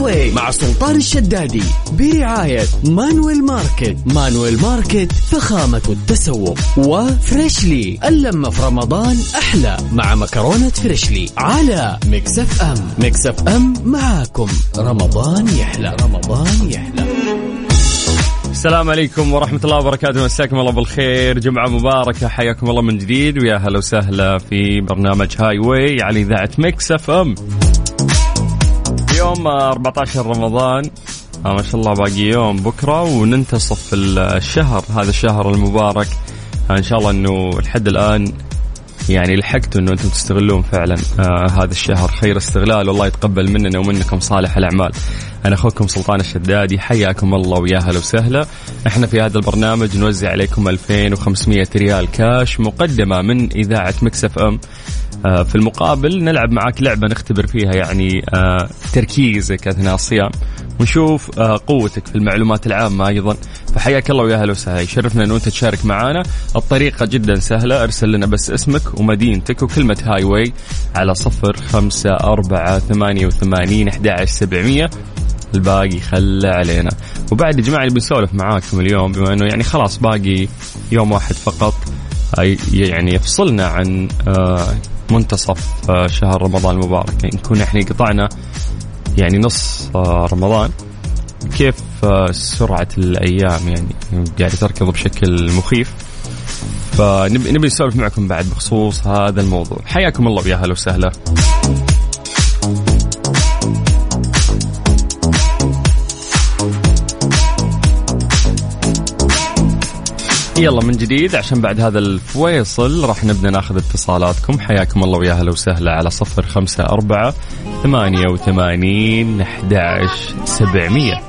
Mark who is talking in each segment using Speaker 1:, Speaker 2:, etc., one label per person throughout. Speaker 1: واي مع سلطان الشدادي برعاية مانويل ماركت مانويل ماركت فخامة التسوق وفريشلي اللمة في رمضان أحلى مع مكرونة فريشلي على مكسف أم مكسف أم معاكم رمضان يحلى رمضان يحلى
Speaker 2: السلام عليكم ورحمة الله وبركاته مساكم الله بالخير جمعة مباركة حياكم الله من جديد ويا هلا وسهلا في برنامج هاي واي على إذاعة مكس اف ام يوم 14 رمضان آه ما شاء الله باقي يوم بكرة وننتصف الشهر هذا الشهر المبارك آه إن شاء الله أنه لحد الآن يعني لحقتوا أنه أنتم تستغلون فعلا آه هذا الشهر خير استغلال والله يتقبل مننا ومنكم صالح الأعمال أنا أخوكم سلطان الشدادي حياكم الله ويا هلا وسهلا احنا في هذا البرنامج نوزع عليكم 2500 ريال كاش مقدمة من إذاعة مكسف أم آه، في المقابل نلعب معاك لعبة نختبر فيها يعني آه، تركيزك أثناء الصيام ونشوف آه، قوتك في المعلومات العامة أيضا فحياك الله ويا هلا وسهلا يشرفنا أن أنت تشارك معنا الطريقة جدا سهلة أرسل لنا بس اسمك ومدينتك وكلمة هاي واي على صفر خمسة أربعة ثمانية وثمانين أحد عشر سبعمية الباقي خله علينا وبعد يا جماعة اللي بنسولف معاكم اليوم بما أنه يعني خلاص باقي يوم واحد فقط أي- يعني يفصلنا عن آه، منتصف آه، شهر رمضان المبارك يعني نكون احنا قطعنا يعني نص آه، رمضان كيف آه، سرعة الأيام يعني قاعدة تركض بشكل مخيف فنبي نبي نسولف معكم بعد بخصوص هذا الموضوع حياكم الله ويا هلا وسهلا يلا من جديد عشان بعد هذا الفويصل راح نبدا ناخذ اتصالاتكم حياكم الله ويا هلا وسهلا على صفر خمسة أربعة ثمانية وثمانين أحد سبعمية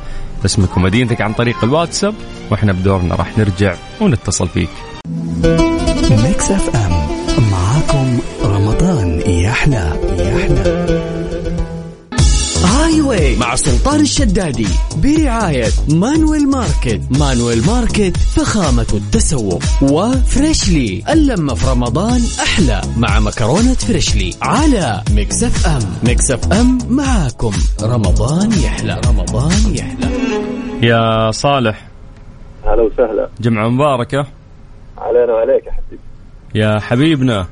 Speaker 2: اسمك ومدينتك عن طريق الواتساب واحنا بدورنا راح نرجع ونتصل فيك
Speaker 1: ميكس اف ام معاكم رمضان يحلى يحلى هاي واي مع سلطان الشدادي برعاية مانويل ماركت مانويل ماركت فخامة التسوق وفريشلي اللمة في رمضان أحلى مع مكرونة فريشلي على مكسف أم مكسف أم معاكم رمضان يحلى رمضان يحلى
Speaker 2: يا صالح
Speaker 3: هلا وسهلا
Speaker 2: جمعة مباركة
Speaker 3: علينا وعليك يا حبيبي
Speaker 2: يا حبيبنا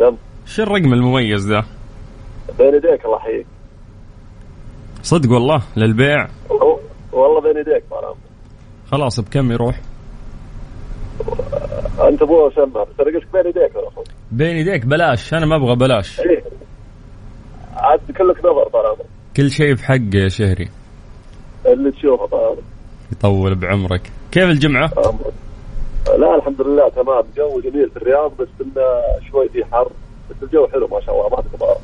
Speaker 3: دم
Speaker 2: شو الرقم المميز ده
Speaker 3: بين يديك الله يحييك
Speaker 2: صدق والله للبيع
Speaker 3: والله- والله بين يديك مرام
Speaker 2: خلاص بكم يروح
Speaker 3: انت ابوه وسمه بس رقصك بين يديك يا اخوي
Speaker 2: بين يديك بلاش انا ما ابغى بلاش
Speaker 3: إيه. عاد كلك نظر مرام
Speaker 2: كل شيء بحق يا شهري
Speaker 3: اللي تشوفه مرام
Speaker 2: يطول بعمرك كيف الجمعة؟
Speaker 3: أمرك. لا الحمد لله تمام جو جميل في الرياض بس انه شوي في حر بس الجو حلو ما شاء الله ما تكبر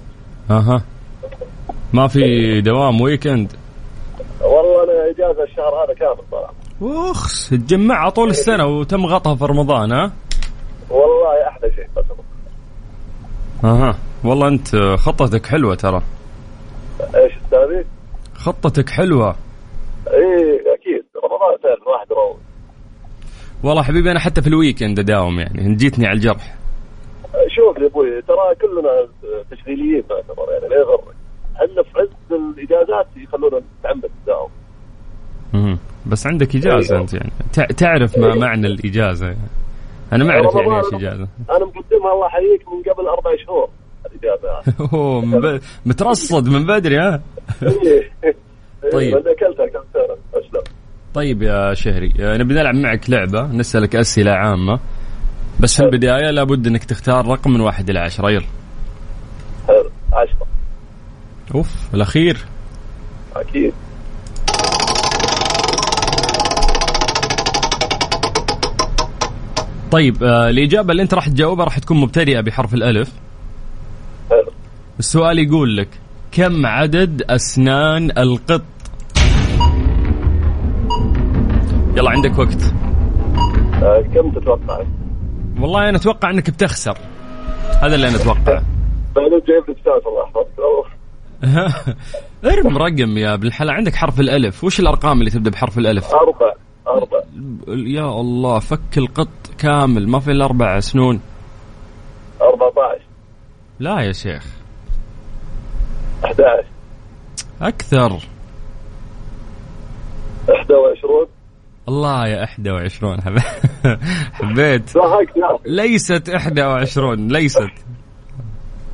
Speaker 2: اها ما في دوام ويكند
Speaker 3: والله انا اجازه الشهر هذا كامل مرام
Speaker 2: اخس تجمعها طول السنة وتم غطها في رمضان ها؟
Speaker 3: والله احلى شيء قسما
Speaker 2: اها والله انت خطتك حلوة ترى
Speaker 3: ايش الثاني؟
Speaker 2: خطتك حلوة
Speaker 3: ايه اكيد رمضان سهل الواحد يروح
Speaker 2: والله حبيبي انا حتى في الويكند اداوم يعني جيتني على الجرح
Speaker 3: شوف يا ابوي ترى كلنا تشغيليين تعتبر يعني لا يغرك احنا في عز الاجازات يخلونا نتعمد نتداوم
Speaker 2: مهم. بس عندك اجازة
Speaker 3: أيوة.
Speaker 2: انت يعني تع- تعرف ما معنى الاجازة يعني. انا ما اعرف يعني ايش اجازة
Speaker 3: انا مقدمها الله يحييك من قبل اربع شهور الاجازه هذه.
Speaker 2: اوه من ب... مترصد من بدري ها
Speaker 3: إيه.
Speaker 2: طيب.
Speaker 3: إيه، انا اكلتها كم سنه اسلم
Speaker 2: طيب يا شهري آه، نبي نلعب معك لعبة نسألك أسئلة عامة بس في البداية لابد أنك تختار رقم من واحد إلى عشرة يلا
Speaker 3: حلو عشرة
Speaker 2: أوف الأخير
Speaker 3: اكيد
Speaker 2: طيب آه، الإجابة اللي أنت راح تجاوبها راح تكون مبتدئة بحرف الألف
Speaker 3: حلو
Speaker 2: السؤال يقول لك كم عدد أسنان القط يلا عندك وقت
Speaker 3: آه، كم تتوقع؟
Speaker 2: والله أنا أتوقع أنك بتخسر هذا اللي أنا أتوقعه
Speaker 3: بعدين جايب لي استاذ الله يحفظك أوه.
Speaker 2: ارم رقم يا ابن الحلال عندك حرف الألف وش الأرقام اللي تبدأ بحرف الألف
Speaker 3: اربع اربع
Speaker 2: يا الله فك القط كامل ما في الا اربع سنون
Speaker 3: 14
Speaker 2: لا يا شيخ
Speaker 3: 11
Speaker 2: اكثر
Speaker 3: 21
Speaker 2: الله يا 21 حب- حبيت
Speaker 3: ضحكت يا أخي.
Speaker 2: ليست 21 ليست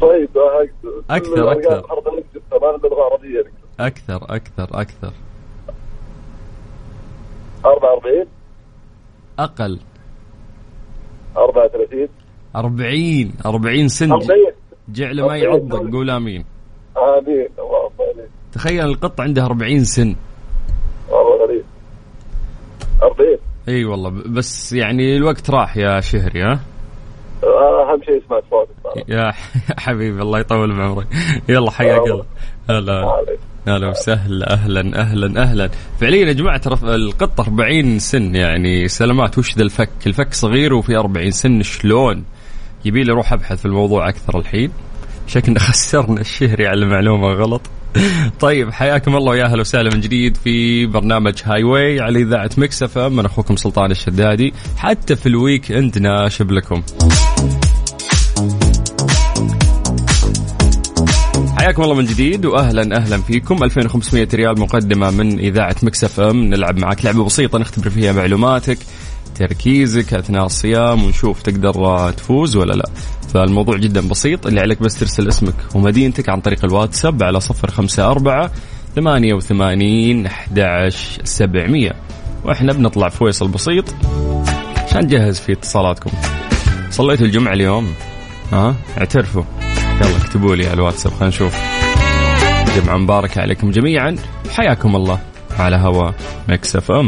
Speaker 3: طيب ضحكت
Speaker 2: أكثر،
Speaker 3: كل الأرقام
Speaker 2: أكثر.
Speaker 3: الحرب اللي نكتبها، ما نبغى عربية نكتب.
Speaker 2: اكثر اكثر اكثر
Speaker 3: 44
Speaker 2: اقل
Speaker 3: 34
Speaker 2: 40 40 سنج
Speaker 3: 40
Speaker 2: جعله ما يعضك قول امين
Speaker 3: امين اللهم امين
Speaker 2: تخيل القط عنده 40 سن
Speaker 3: والله غريب 40
Speaker 2: اي والله ب- بس يعني الوقت راح يا شهري ها
Speaker 3: آه، اهم شيء سمعت صوتك
Speaker 2: يا ح- حبيبي الله يطول بعمرك يلا حياك الله هلا
Speaker 3: عليك.
Speaker 2: هلا وسهلا اهلا اهلا اهلا فعليا يا جماعه ترى القط 40 سن يعني سلامات وش ذا الفك الفك صغير وفي 40 سن شلون يبي لي اروح ابحث في الموضوع اكثر الحين شكلنا خسرنا الشهري على المعلومه غلط طيب حياكم الله ويا اهلا وسهلا من جديد في برنامج هاي واي على اذاعه مكس اف ام من اخوكم سلطان الشدادي حتى في الويك اند ناشب لكم حياكم الله من جديد واهلا اهلا فيكم 2500 ريال مقدمه من اذاعه مكس اف ام نلعب معك لعبه بسيطه نختبر فيها معلوماتك تركيزك اثناء الصيام ونشوف تقدر آه، تفوز ولا لا فالموضوع جدا بسيط اللي عليك بس ترسل اسمك ومدينتك عن طريق الواتساب على 054 88 11 700 واحنا بنطلع فويصل بسيط عشان نجهز في اتصالاتكم صليتوا الجمعه اليوم ها اعترفوا يلا اكتبوا لي على الواتساب خلينا نشوف جمعة مباركة عليكم جميعا حياكم الله على هوا مكس اف ام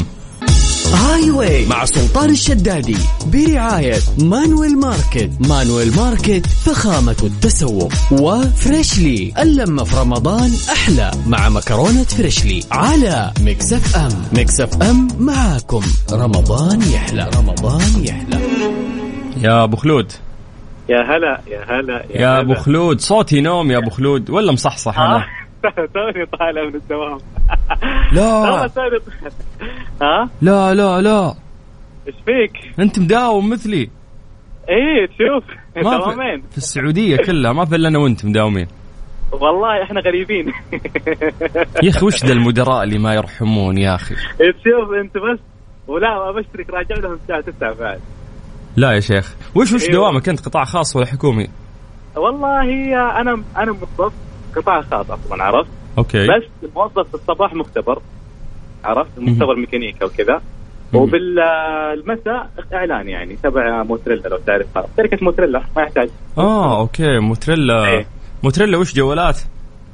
Speaker 1: هاي واي مع سلطان الشدادي برعاية مانويل ماركت مانويل ماركت فخامة التسوق وفريشلي اللمة في رمضان أحلى مع مكرونة فريشلي على مكسف أم مكسف أم معاكم رمضان يحلى رمضان يحلى
Speaker 2: يا ابو خلود
Speaker 4: يا هلا يا هلا
Speaker 2: يا ابو خلود صوتي نوم يا ابو خلود ولا مصحصح انا
Speaker 4: آه. توني طالع من الدوام
Speaker 2: آه.
Speaker 4: والله
Speaker 2: لا
Speaker 4: توني طالع. ها
Speaker 2: لا لا لا
Speaker 4: ايش فيك؟
Speaker 2: انت مداوم مثلي
Speaker 4: ايه تشوف
Speaker 2: ما في,
Speaker 4: دوامين
Speaker 2: في السعودية كلها ما في الا انا وانت مداومين
Speaker 4: والله احنا غريبين
Speaker 2: يا اخي وش ذا المدراء اللي ما يرحمون يا اخي
Speaker 4: تشوف انت بس ولا ابشرك راجع لهم الساعه 9 بعد
Speaker 2: لا يا شيخ وش وش
Speaker 4: أيوة.
Speaker 2: دوامك انت قطاع خاص ولا حكومي
Speaker 4: والله انا انا موظف قطاع خاص اصلا عرفت
Speaker 2: اوكي
Speaker 4: بس موظف في الصباح مختبر عرفت مختبر ميكانيكا وكذا
Speaker 2: مهم.
Speaker 4: وبالمساء اعلان يعني تبع موتريلا لو تعرفها شركه موتريلا ما يحتاج
Speaker 2: اه اوكي موتريلا
Speaker 4: إيه.
Speaker 2: موتريلا وش جوالات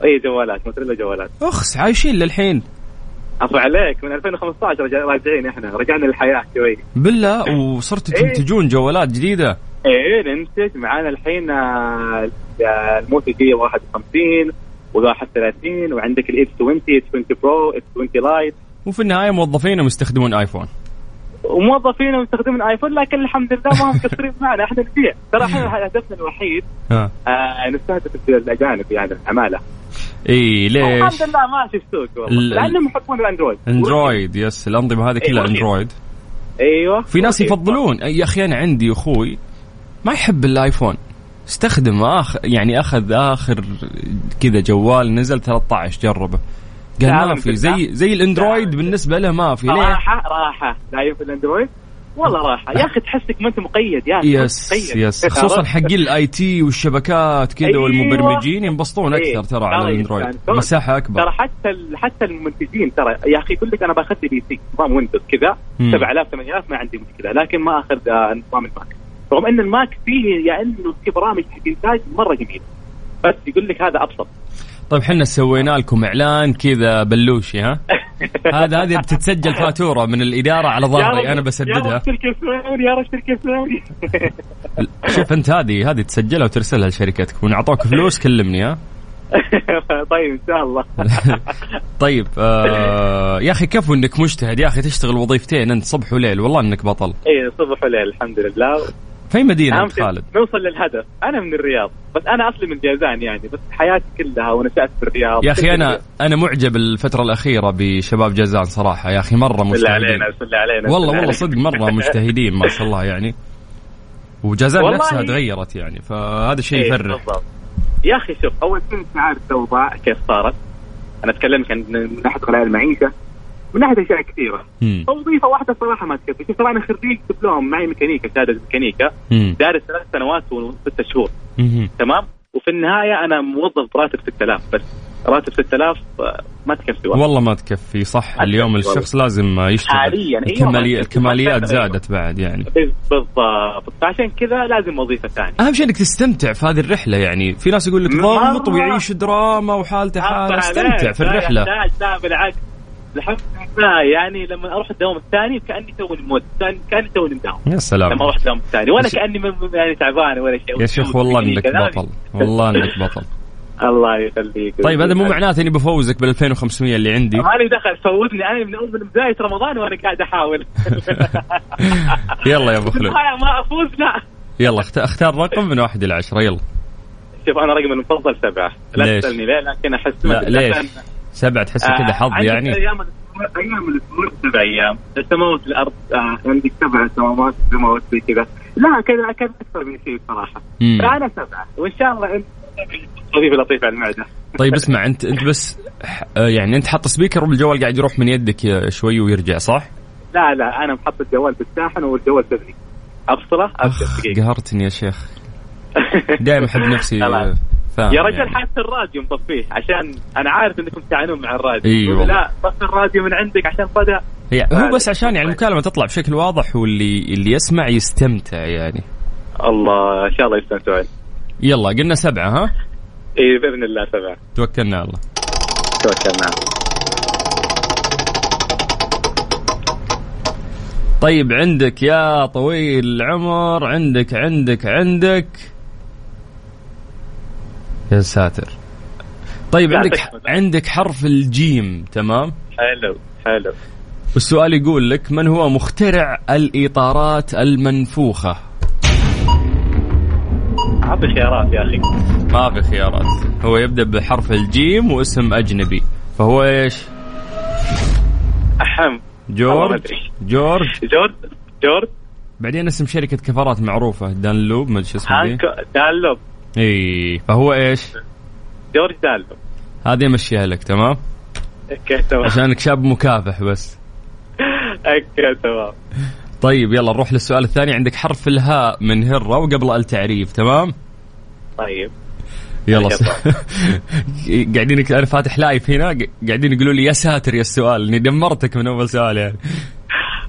Speaker 4: اي جوالات موتريلا جوالات
Speaker 2: اخس عايشين للحين
Speaker 4: عفوا عليك من 2015 رجع راجعين احنا رجعنا للحياه شوي
Speaker 2: بالله وصرتوا
Speaker 4: إيه.
Speaker 2: تنتجون جوالات جديده
Speaker 4: ايه ننتج معانا الحين آه، آه، الموتو جي 51 و31 وعندك الاس 20 اس 20 برو اس 20 لايت
Speaker 2: وفي النهايه موظفينهم يستخدمون ايفون
Speaker 4: وموظفين ومستخدمين ايفون لكن الحمد لله ما هم مقصرين معنا احنا نبيع ترى
Speaker 2: إيه.
Speaker 4: احنا هدفنا الوحيد
Speaker 2: ها
Speaker 4: آه نستهدف الاجانب يعني العماله
Speaker 2: اي ليش
Speaker 4: الحمد لله ماشي السوق والله
Speaker 2: ال-
Speaker 4: لانهم يحبون الاندرويد
Speaker 2: اندرويد يس الانظمه هذه كلها
Speaker 4: إيه، وكيل.
Speaker 2: اندرويد
Speaker 4: ايوه
Speaker 2: في ناس
Speaker 4: وكيف.
Speaker 2: يفضلون يا اخي انا عندي اخوي ما يحب الايفون استخدم اخر يعني اخذ اخر كذا جوال نزل 13 جربه قال ما
Speaker 4: تعلم
Speaker 2: في
Speaker 4: بالله.
Speaker 2: زي زي الاندرويد بالنسبه له ما في ليه
Speaker 4: راحه راحه دايم في الاندرويد والله راحه يا اخي تحسك ما انت مقيد يا اخي
Speaker 2: يس يس خصوصا حقين الاي تي والشبكات كذا
Speaker 4: طيب. أيوة.
Speaker 2: والمبرمجين ينبسطون
Speaker 4: إيه.
Speaker 2: اكثر ترى على
Speaker 4: ترى
Speaker 2: الاندرويد
Speaker 4: يستانسون.
Speaker 2: مساحه
Speaker 4: ترى
Speaker 2: اكبر
Speaker 4: حتى ال- حتى المنتجين ترى يا اخي يقول لك انا باخذ لي بي سي نظام ويندوز كذا
Speaker 2: مم.
Speaker 4: 7000 8000 ما عندي مشكله لكن ما اخذ آه، نظام الماك رغم ان الماك فيه يعني انه في برامج حق انتاج مره جميله بس يقول لك هذا ابسط
Speaker 2: طيب حنا سوينا لكم اعلان كذا بلوشي ها هذا هذه بتتسجل فاتوره من الاداره على
Speaker 4: يا
Speaker 2: ظهري
Speaker 4: رجل-
Speaker 2: انا
Speaker 4: يا
Speaker 2: بسددها
Speaker 4: رب شركه سعودي يا رب شركه سعودي
Speaker 2: شوف انت هذه هذه تسجلها وترسلها لشركتك وان اعطوك فلوس كلمني ها
Speaker 4: طيب ان شاء الله
Speaker 2: طيب آه يا اخي كفو انك مجتهد يا اخي تشتغل وظيفتين انت صبح وليل والله انك بطل
Speaker 4: اي صبح وليل إيه، الحمد لله
Speaker 2: في مدينه
Speaker 4: أهم
Speaker 2: انت
Speaker 4: شيء
Speaker 2: خالد
Speaker 4: نوصل للهدف انا من الرياض بس انا اصلي من جازان يعني بس حياتي كلها ونشات في الرياض
Speaker 2: يا اخي انا انا معجب الفتره الاخيره بشباب جازان صراحه يا اخي مره
Speaker 4: بالله
Speaker 2: مجتهدين
Speaker 4: علينا بالله علينا إيه،
Speaker 2: والله والله
Speaker 4: بالله علينا.
Speaker 2: صدق مره مجتهدين ما شاء الله يعني وجازان
Speaker 4: والله
Speaker 2: نفسها
Speaker 4: هي-
Speaker 2: تغيرت يعني فهذا شيء
Speaker 4: إيه،
Speaker 2: يفرح
Speaker 4: بالضبط. يا اخي شوف اول شيء انت عارف الاوضاع كيف صارت انا اتكلمك عن من ناحيه غلاء المعيشه من ناحيه اشياء كثيره
Speaker 2: مم.
Speaker 4: فوظيفه واحده الصراحه ما تكفي شوف انا خريج دبلوم معي ميكانيكا شهاده ميكانيكا
Speaker 2: مم.
Speaker 4: دارس ثلاث سنوات وستة شهور
Speaker 2: مم.
Speaker 4: تمام وفي النهايه انا موظف براتب 6000 بس راتب 6000 آه، ما تكفي والله
Speaker 2: والله ما تكفي صح اليوم
Speaker 4: والله.
Speaker 2: الشخص لازم يشتغل
Speaker 4: حاليا أيوة، ما
Speaker 2: الكمالي-
Speaker 4: تكفي.
Speaker 2: الكماليات
Speaker 4: ما تكفي.
Speaker 2: زادت بعد يعني
Speaker 4: بالضبط فعشان كذا لازم وظيفه ثانيه
Speaker 2: اهم شيء انك تستمتع في هذه الرحله يعني في ناس يقول لك
Speaker 4: مرة.
Speaker 2: ضغط ويعيش دراما وحالته حاله استمتع في الرحله
Speaker 4: لا يحتاج، لا بالعكس الحمد لله يعني لما اروح الدوام الثاني كاني توني موت كان- كاني توني مداوم
Speaker 2: يا
Speaker 4: لما
Speaker 2: سلام
Speaker 4: اروح الدوام الثاني ولا
Speaker 2: يا شيخ-
Speaker 4: كاني من- يعني تعبان ولا شيء
Speaker 2: يا شيخ والله انك
Speaker 4: كلامي.
Speaker 2: بطل والله انك بطل
Speaker 4: الله يخليك
Speaker 2: طيب هذا مو معناته اني بفوزك بال 2500 اللي عندي
Speaker 4: مالي دخل فوتني انا من اول من بدايه رمضان وانا قاعد احاول
Speaker 2: يلا يا ابو خلود
Speaker 4: ما- ما افوز لا
Speaker 2: يلا اخت- اختار رقم من واحد الى عشرة يلا
Speaker 4: شوف انا رقمي المفضل سبعه لا
Speaker 2: ليش؟
Speaker 4: تسالني ليه لكن احس
Speaker 2: لا
Speaker 4: مثل-
Speaker 2: ليش
Speaker 4: عشان-
Speaker 2: سبعة تحس كذا حظ
Speaker 4: آه، عندك
Speaker 2: يعني
Speaker 4: ايام الأسبوع- ايام الاسبوع سبع ايام السماوات الارض آه، عندك سبع سماوات سماوات زي كذا لا كذا كان اكثر من شيء صراحه
Speaker 2: مم.
Speaker 4: فانا سبعه وان شاء الله انت وظيفه لطيفه على المعده
Speaker 2: طيب اسمع انت انت بس ح- آه، يعني انت حاط سبيكر والجوال قاعد يروح من يدك آه، شوي ويرجع صح؟
Speaker 4: لا لا انا محط الجوال في الشاحن والجوال تبني ابصره ابشر دقيقه
Speaker 2: قهرتني يا شيخ دائما احب نفسي آه،
Speaker 4: خلاص.
Speaker 2: فاهم
Speaker 4: يا رجل
Speaker 2: يعني.
Speaker 4: حاسس الراديو مطفيه عشان انا عارف انكم تعانون مع الراديو
Speaker 2: إي
Speaker 4: تقول
Speaker 2: والله.
Speaker 4: لا طفي الراديو من عندك عشان صدى
Speaker 2: هي هو
Speaker 4: فعلا.
Speaker 2: بس عشان يعني المكالمه تطلع بشكل واضح واللي اللي يسمع يستمتع يعني
Speaker 4: الله ان شاء الله يستمتعون
Speaker 2: يلا قلنا سبعه ها
Speaker 4: اي باذن الله سبعه
Speaker 2: توكلنا على الله
Speaker 4: توكلنا
Speaker 2: طيب عندك يا طويل العمر عندك عندك عندك يا ساتر طيب
Speaker 4: لا،
Speaker 2: عندك
Speaker 4: تكفى.
Speaker 2: عندك حرف الجيم تمام
Speaker 4: حلو حلو
Speaker 2: والسؤال يقول لك من هو مخترع الاطارات المنفوخه
Speaker 4: اعطي خيارات يا اخي
Speaker 2: ما في خيارات هو يبدا بحرف الجيم واسم اجنبي فهو ايش
Speaker 4: احم والله ما
Speaker 2: جورج
Speaker 4: أدري.
Speaker 2: جورج
Speaker 4: جورج جورج
Speaker 2: بعدين اسم شركة كفرات معروفة دانلوب ما ادري شو اسمها ذي
Speaker 4: هانك دالوب
Speaker 2: اي فهو ايش؟
Speaker 4: جورج دالوب
Speaker 2: هذه امشيها لك تمام؟
Speaker 4: اوكي تمام
Speaker 2: عشانك شاب مكافح بس
Speaker 4: اوكي تمام
Speaker 2: طيب يلا نروح للسؤال الثاني عندك حرف الهاء من هرة وقبل التعريف تمام؟
Speaker 4: طيب
Speaker 2: يلا س... قاعدين يك- انا فاتح لايف هنا ق- قاعدين يقولوا لي يا ساتر يا السؤال اني دمرتك من اول سؤال يعني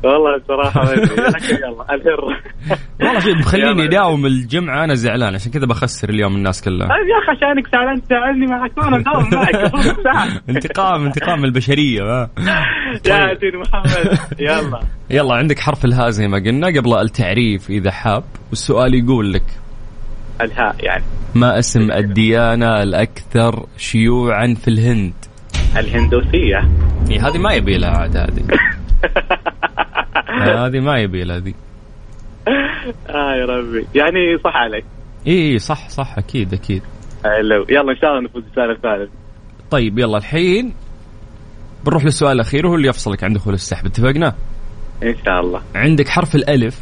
Speaker 4: والله بصراحه ما أدري. لكن يلا الهر
Speaker 2: والله شيء مخليني
Speaker 4: يلا.
Speaker 2: اداوم الجمعه انا زعلان عشان كذا بخسر اليوم الناس كلها
Speaker 4: طيب يا اخي عشانك زعلان تزعلني معك وانا مداوم معك المفروض تزعل.
Speaker 2: طيب. انتقام انتقام البشريه ما.
Speaker 4: يا دين محمد يلا
Speaker 2: يلا عندك حرف الهاء زي ما قلنا قبل التعريف اذا حاب والسؤال يقول لك
Speaker 4: الهاء يعني
Speaker 2: ما اسم الديانه الاكثر شيوعا في الهند؟
Speaker 4: الهندوسيه
Speaker 2: إيه هذه ما يبي لها عاد هذه هذه ما يبي لها ذي
Speaker 4: آه يا ربي يعني صح عليك
Speaker 2: اي إيه، صح صح اكيد اكيد
Speaker 4: حلو يلا ان شاء الله نفوز بالسؤال الثالث
Speaker 2: طيب يلا الحين بنروح للسؤال الاخير وهو اللي يفصلك عن دخول السحب اتفقنا؟
Speaker 4: ان شاء الله
Speaker 2: عندك حرف الالف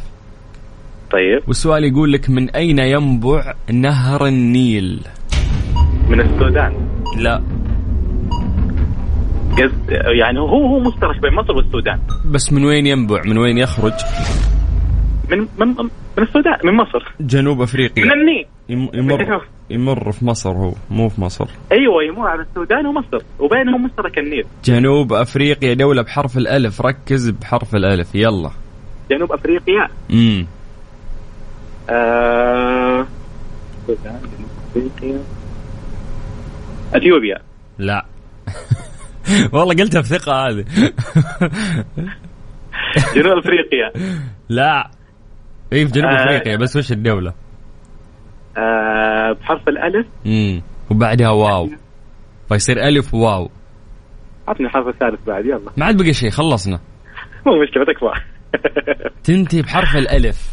Speaker 4: طيب
Speaker 2: والسؤال يقول لك من اين ينبع نهر النيل؟
Speaker 4: من السودان
Speaker 2: لا
Speaker 4: قصد يعني هو هو مشترك بين مصر والسودان
Speaker 2: بس من وين ينبع؟ من وين يخرج؟
Speaker 4: من من من السودان من مصر
Speaker 2: جنوب افريقيا
Speaker 4: من النيل
Speaker 2: يم- يمر يمر في مصر هو مو في مصر
Speaker 4: ايوه يمر على السودان ومصر وبينهم مشترك النيل
Speaker 2: جنوب افريقيا دولة بحرف الالف ركز بحرف الالف يلا
Speaker 4: جنوب افريقيا
Speaker 2: امم
Speaker 4: آه... السودان جنوب افريقيا اثيوبيا
Speaker 2: لا والله قلتها بثقة هذه
Speaker 4: جنوب افريقيا
Speaker 2: لا اي في جنوب
Speaker 4: آه.
Speaker 2: افريقيا بس وش الدولة؟
Speaker 4: آه... بحرف الالف
Speaker 2: امم وبعدها واو فيصير الف واو
Speaker 4: عطني الحرف الثالث بعد يلا
Speaker 2: ما عاد بقى شيء خلصنا
Speaker 4: مو مشكله تكفى
Speaker 2: تنتهي بحرف الالف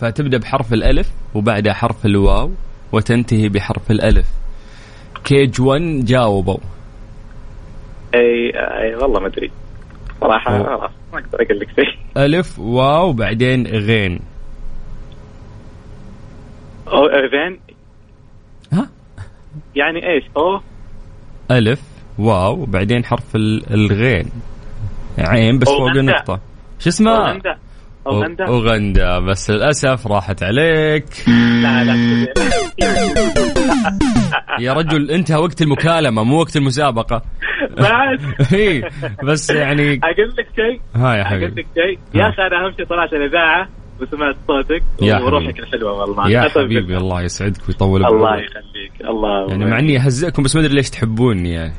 Speaker 2: فتبدا بحرف الالف وبعدها حرف الواو وتنتهي بحرف الالف كيج 1 جاوبوا
Speaker 4: اي اي والله ما ادري صراحه
Speaker 2: أوه.
Speaker 4: خلاص ما اقدر اقول لك شيء
Speaker 2: الف واو بعدين غين
Speaker 4: او ايفين
Speaker 2: ها
Speaker 4: يعني ايش او
Speaker 2: الف واو وبعدين حرف ال- الغين عين بس فوق
Speaker 4: أوغندا.
Speaker 2: النقطة شو اسمه؟
Speaker 4: اوغندا اوغندا
Speaker 2: أو- أوغندا بس للأسف راحت عليك
Speaker 4: لا لا
Speaker 2: يا رجل انتهى وقت المكالمة مو وقت المسابقة
Speaker 4: بعد
Speaker 2: اي بس يعني
Speaker 4: اقول لك شيء
Speaker 2: ها يا
Speaker 4: اقول
Speaker 2: حبيبي آه.
Speaker 4: لك شيء يا اخي انا اهم شيء طلعت الاذاعه وسمعت صوتك
Speaker 2: يا
Speaker 4: وروحك
Speaker 2: حبيبي.
Speaker 4: الحلوه والله
Speaker 2: يا
Speaker 4: أقسم
Speaker 2: حبيبي
Speaker 4: بالله.
Speaker 2: الله يسعدك ويطول
Speaker 4: الله
Speaker 2: بعمرك
Speaker 4: يخليك الله
Speaker 2: يعني مع اني اهزئكم بس ما ادري ليش تحبوني يعني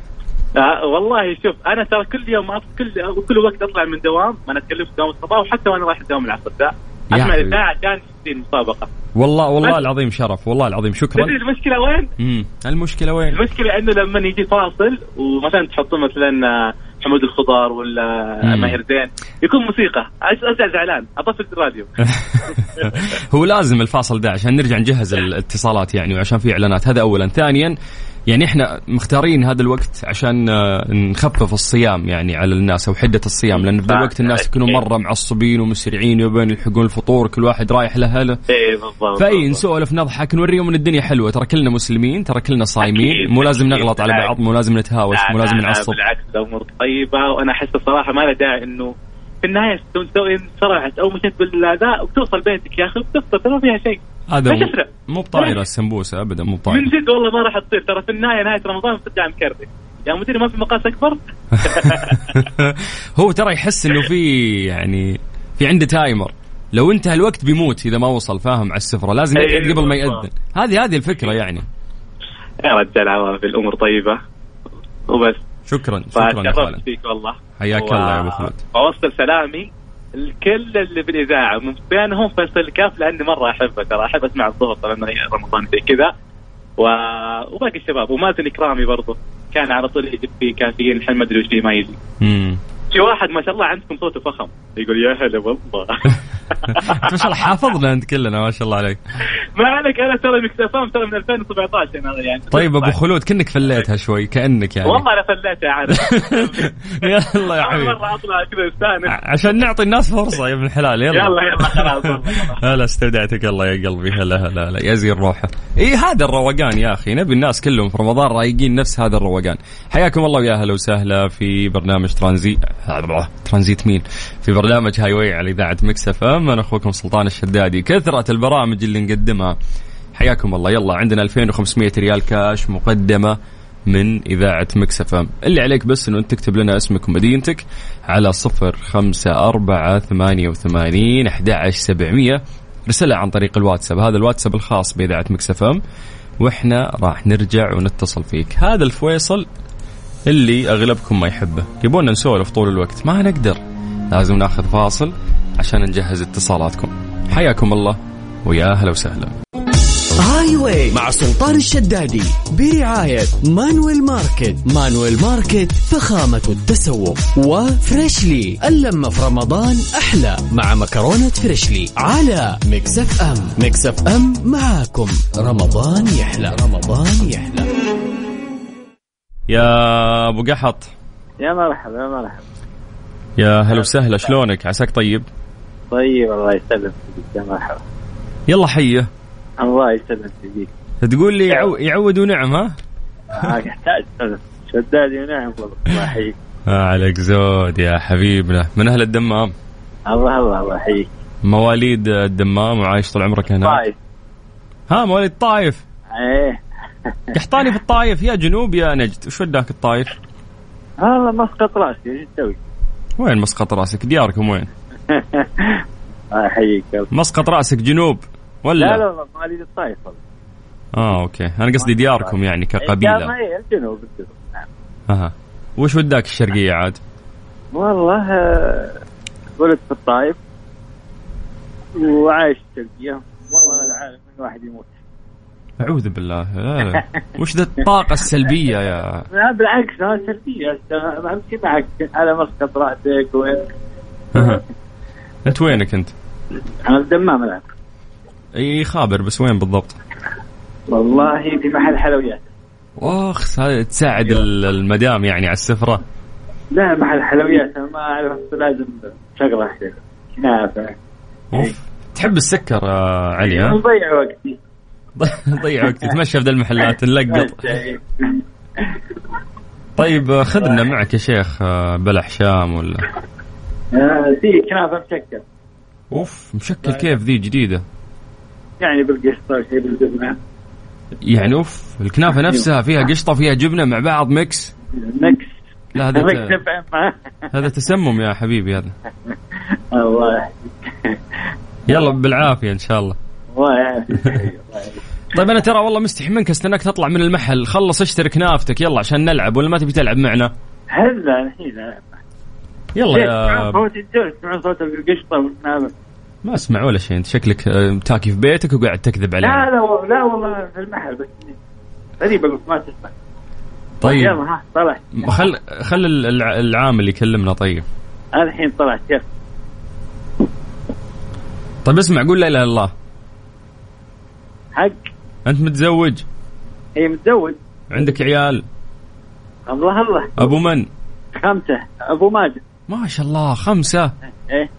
Speaker 4: آه والله شوف انا ترى كل يوم أط... كل كل وقت اطلع من دوام ما انا اتكلم في دوام الصباح وحتى وانا رايح الدوام العصر ده
Speaker 2: يا
Speaker 4: اسمع
Speaker 2: حبيبي.
Speaker 4: الاذاعه عشان تدي المسابقه
Speaker 2: والله والله
Speaker 4: بس.
Speaker 2: العظيم شرف والله العظيم شكرا
Speaker 4: تدري المشكله وين؟
Speaker 2: امم المشكلة وين؟
Speaker 4: المشكله انه لما يجي فاصل ومثلا تحطون مثلا آه، حمود الخضار ولا آه،
Speaker 2: مم.
Speaker 4: ماهر زين يكون موسيقى أج- ارجع زعلان اطفي الراديو
Speaker 2: هو لازم الفاصل ده عشان نرجع نجهز
Speaker 4: نعم.
Speaker 2: الاتصالات يعني وعشان في اعلانات هذا اولا ثانيا يعني احنا مختارين هذا الوقت عشان آه، نخفف الصيام يعني على الناس او حده الصيام لان في ذا الوقت الناس يكونوا
Speaker 4: نعم.
Speaker 2: مره معصبين ومسرعين يبون يلحقون الفطور كل واحد رايح لاهله
Speaker 4: اي إيه، بالضبط
Speaker 2: فاي نسولف نضحك نوريهم ان الدنيا حلوه ترى كلنا مسلمين ترى كلنا صايمين
Speaker 4: أكيد،
Speaker 2: مو لازم
Speaker 4: أكيد،
Speaker 2: نغلط على
Speaker 4: بالعكس.
Speaker 2: بعض مو لازم نتهاوش
Speaker 4: لا،
Speaker 2: مو
Speaker 4: لا،
Speaker 2: لازم
Speaker 4: لا،
Speaker 2: نعصب
Speaker 4: بالعكس الامور طيبه وانا احس الصراحه ما له داعي انه في النهايه سو- سوي انصرعت او مشيت بالاداء وبتوصل بيتك يا اخي وبتفطر ترى ما فيها شيء
Speaker 2: هذا
Speaker 4: لا
Speaker 2: مو-
Speaker 4: تفرق.
Speaker 2: مو بطايره السمبوسه ابدا مو
Speaker 4: من
Speaker 2: بطايره
Speaker 4: جد والله ما راح تصير ترى في النهايه نهايه رمضان بترجع مكرر يا مديري ما في مقاس اكبر
Speaker 2: هو ترى يحس انه في يعني في عنده تايمر لو انتهى الوقت بيموت اذا ما وصل فاهم على السفره لازم
Speaker 4: أيوة
Speaker 2: يقعد قبل ما
Speaker 4: بالضبط.
Speaker 2: يأذن هذه هذه الفكره يعني
Speaker 4: يا رجال عوافي الامور طيبه وبس
Speaker 2: شكرا شكرا يا خالد
Speaker 4: فتشرفت فيك والله
Speaker 2: حياك
Speaker 4: و-
Speaker 2: الله يا أبو خالد.
Speaker 4: اوصل سلامي لكل اللي بالاذاعه من بينهم فيصل كاف لاني مره احبه ترى احب اسمع الظهر ترى انه رمضان زي كذا و... وباقي الشباب ومازن اكرامي برضه كان على طول يجيب فيه كافيين الحين ما ادري وش فيه ما يجي
Speaker 2: مم.
Speaker 4: في واحد ما شاء الله عندكم صوته فخم يقول يا هلا والله
Speaker 2: أنت ما شاء الله حافظنا انت كلنا ما شاء الله عليك
Speaker 4: ما عليك انا ترى مكسفام ترى من 2017 انا يعني
Speaker 2: طيب ابو خلود كانك فليتها شوي كانك يعني
Speaker 4: والله انا فليتها عارف
Speaker 2: يلا يا
Speaker 4: أول
Speaker 2: حبيبي
Speaker 4: مره اطلع كذا استانس
Speaker 2: ع- عشان نعطي الناس فرصه يا ابن الحلال يلا
Speaker 4: يلا يلا خلاص والله.
Speaker 2: هلا استودعتك الله يا قلبي هلا هلا هلا يا زين روحه اي هذا الروقان يا اخي نبي الناس كلهم في رمضان رايقين نفس هذا الروقان حياكم الله ويا هلا وسهلا في برنامج ترانزيت ترانزيت مين في برنامج هاي واي على اذاعه مكس اف ام انا اخوكم سلطان الشدادي كثره البرامج اللي نقدمها حياكم الله يلا عندنا 2500 ريال كاش مقدمه من إذاعة مكسفة اللي عليك بس أنه أنت تكتب لنا اسمك ومدينتك على صفر خمسة أربعة ثمانية وثمانين أحد عشر سبعمية رسالة عن طريق الواتساب هذا الواتساب الخاص بإذاعة مكسفة وإحنا راح نرجع ونتصل فيك هذا الفويصل اللي أغلبكم ما يحبه يبونا نسولف طول الوقت ما نقدر لازم ناخذ فاصل عشان نجهز اتصالاتكم حياكم الله ويا أهلا وسهلا
Speaker 1: هاي واي مع سلطان الشدادي برعاية مانويل ماركت مانويل ماركت فخامة التسوق وفريشلي اللمة في رمضان أحلى مع مكرونة فريشلي على مكسف أم مكسف أم معاكم رمضان يحلى رمضان يحلى
Speaker 2: يا ابو قحط
Speaker 5: يا مرحبا يا مرحبا
Speaker 2: يا هلا وسهلا شلونك عساك طيب
Speaker 5: طيب الله يسلمك يا مرحبا
Speaker 2: يلا حيه
Speaker 5: الله يسلمك فيك
Speaker 2: تقول لي يعو... يعود ونعم ها
Speaker 5: معك احتاج سلم شدادي ونعم والله الله يحييك
Speaker 2: آه عليك زود يا حبيبنا من اهل الدمام
Speaker 5: الله الله الله يحييك
Speaker 2: مواليد الدمام وعايش طول عمرك هناك
Speaker 5: طيب
Speaker 2: ها مواليد الطايف
Speaker 5: ايه
Speaker 2: قحطاني في الطايف يا جنوب يا نجد وش وداك الطايف
Speaker 5: والله مسقط راسي ايش تسوي؟
Speaker 2: وين مسقط راسك دياركم وين
Speaker 5: الله يحييك يلا.
Speaker 2: مسقط راسك جنوب ولا
Speaker 5: لا لا والله مواليد الطايف والله إيه،
Speaker 2: اه اوكي انا قصدي دياركم يعني
Speaker 5: ما
Speaker 2: كقبيله
Speaker 5: هي الجنوب الجنوب نعم.
Speaker 2: اها وش وداك الشرقيه عاد
Speaker 5: والله آه، ولد في الطايف وعايش في تركيا والله العالم من واحد يموت
Speaker 2: اعوذ بالله لا لا وش ذا الطاقه السلبيه يا
Speaker 5: لا بالعكس انا سلبيه امشي معك على مسقط راسك وين
Speaker 2: أها. انت وينك انت؟
Speaker 5: انا الدمام الان
Speaker 2: اي خابر بس وين بالضبط؟
Speaker 5: والله في محل حلويات
Speaker 2: واخ هذا تساعد ال- المدام يعني على السفره
Speaker 5: لا محل حلويات أنا ما اعرف بس لازم شغله كذا نافع
Speaker 2: اوف تحب السكر آه، علي ها؟
Speaker 5: نضيع وقتي
Speaker 2: ضيع وقت تمشى في ذا المحلات نلقط
Speaker 5: ماشي.
Speaker 2: طيب آه، خذنا معك يا شيخ آه، بلح شام ولا
Speaker 5: آه، في كنافه مشكل
Speaker 2: اوف مشكل كيف ذي جديده
Speaker 5: يعني بالقشطه وشيء بالجبنه
Speaker 2: يعني اوف الكنافه نفسها فيها قشطه فيها جبنه مع بعض ميكس
Speaker 5: مكس
Speaker 2: لا هذا ت-
Speaker 4: طيب.
Speaker 5: مكس مع-
Speaker 2: هذا تسمم يا حبيبي هذا
Speaker 5: الله يحفظك.
Speaker 2: يلا بالعافيه ان شاء الله
Speaker 5: الله يعافيك الله يعافيك.
Speaker 2: طيب انا ترى والله مستحي منك استناك تطلع من المحل خلص اشتري كنافتك يلا عشان نلعب ولا ما تبي تلعب معنا
Speaker 5: هلا الحين إيه،
Speaker 2: يلا
Speaker 4: إيه،
Speaker 5: تسمعون
Speaker 2: يا
Speaker 5: صوت الجو تسمعون صوت القشطه والكنافه
Speaker 2: ما اسمع ولا شيء انت شكلك آه، تاكي في بيتك وقاعد تكذب
Speaker 5: لا
Speaker 2: علينا
Speaker 5: لا و- لا والله في المحل بس غريبة قلت ما تسمع يلا
Speaker 2: طيب
Speaker 5: ها طلع
Speaker 2: خل خل الع- العامل يكلمنا طيب
Speaker 5: الحين طلعت يلا
Speaker 2: طيب اسمع قول لا اله الا الله
Speaker 5: حق
Speaker 2: انت متزوج
Speaker 5: هي متزوج
Speaker 2: عندك عيال
Speaker 5: الله الله
Speaker 2: ابو من
Speaker 5: خمسة ابو ماجد
Speaker 2: ما شاء الله خمسة
Speaker 5: ايه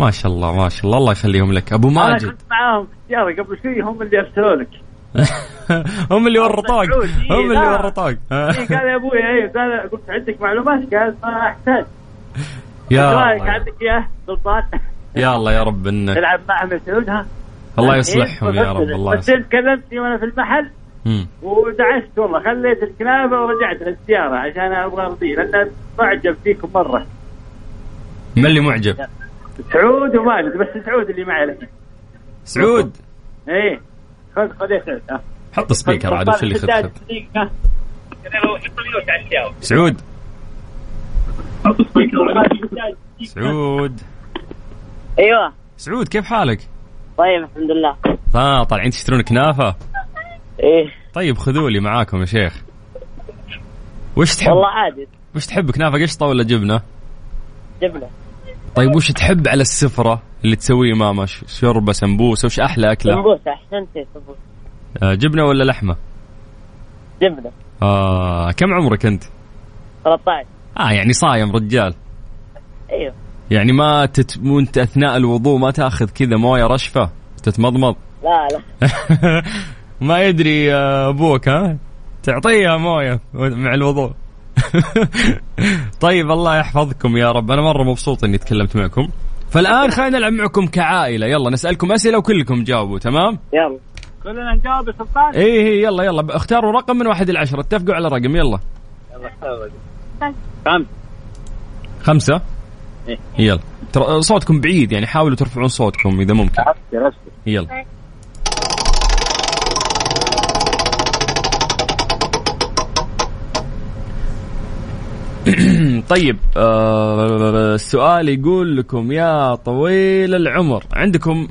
Speaker 2: ما شاء الله ما شاء الله الله يخليهم لك ابو
Speaker 5: انا
Speaker 2: ماجد
Speaker 5: كنت معاهم في السيارة قبل شوي هم اللي ارسلوا لك
Speaker 2: هم اللي ورطوك
Speaker 5: مسعود، إيه،
Speaker 2: هم اللي
Speaker 5: لا.
Speaker 2: ورطوك آه.
Speaker 5: إيه، قال يا ابوي ايه قال قلت عندك معلومات قال ما احتاج
Speaker 2: يا
Speaker 5: إيش رايك
Speaker 2: الله
Speaker 5: عندك اياه سلطان
Speaker 2: يا الله يا رب انك
Speaker 5: تلعب مع مسعود ها
Speaker 2: الله
Speaker 5: إيه،
Speaker 2: يصلحهم يا رب الله
Speaker 5: بس
Speaker 2: يصلحهم
Speaker 5: انت كلمتني وانا في المحل
Speaker 2: مم.
Speaker 5: ودعست والله خليت الكلابه ورجعت للسياره عشان ابغى ارضيه لان معجب فيكم مره
Speaker 2: من اللي معجب
Speaker 5: سعود وماجد بس سعود اللي معي الحين
Speaker 2: سعود
Speaker 5: ايه خذ خذ يا سعود ها.
Speaker 2: حط سبيكر عاد وش اللي خذ
Speaker 5: خذ
Speaker 2: خذ سعود سعود
Speaker 6: ايوه
Speaker 2: سعود كيف حالك؟
Speaker 6: طيب الحمد لله
Speaker 2: ها طالعين تشترون كنافه
Speaker 6: ايه
Speaker 2: طيب خذوا لي معاكم يا شيخ وش تحب
Speaker 6: والله عادي
Speaker 2: وش تحب كنافه قشطه ولا جبنه؟
Speaker 6: جبنه
Speaker 2: طيب وش تحب على السفرة اللي تسويه ماما ش- شوربة سمبوسة وش أحلى أكلة
Speaker 6: سمبوسه احسنتي سمبوسه
Speaker 2: آه جبنة ولا لحمة
Speaker 6: جبنه
Speaker 2: آه كم عمرك أنت
Speaker 6: 13
Speaker 2: آه يعني صايم رجال
Speaker 6: ايوه
Speaker 2: يعني ما تت... وانت أثناء الوضوء ما تأخذ كذا موية رشفة تتمضمض
Speaker 6: لا لا
Speaker 2: ما يدري آه، أبوك ها تعطيها موية مع الوضوء طيب الله يحفظكم يا رب أنا مرة مبسوط إني تكلمت معكم فالآن خلينا نلعب معكم كعائلة يلا نسألكم أسئلة وكلكم جاوبوا تمام
Speaker 6: يلا
Speaker 5: كلنا نجاوب يا سلطان
Speaker 2: ايه ايه يلا يلا ب- اختاروا رقم من واحد إلى عشرة اتفقوا على رقم يلا
Speaker 5: خمس
Speaker 2: خمسة
Speaker 5: إيه.
Speaker 2: يلا ترى صوتكم بعيد يعني حاولوا ترفعون صوتكم إذا ممكن
Speaker 5: أبشر أبشر
Speaker 2: يلا طيب آه السؤال يقول لكم يا طويل العمر عندكم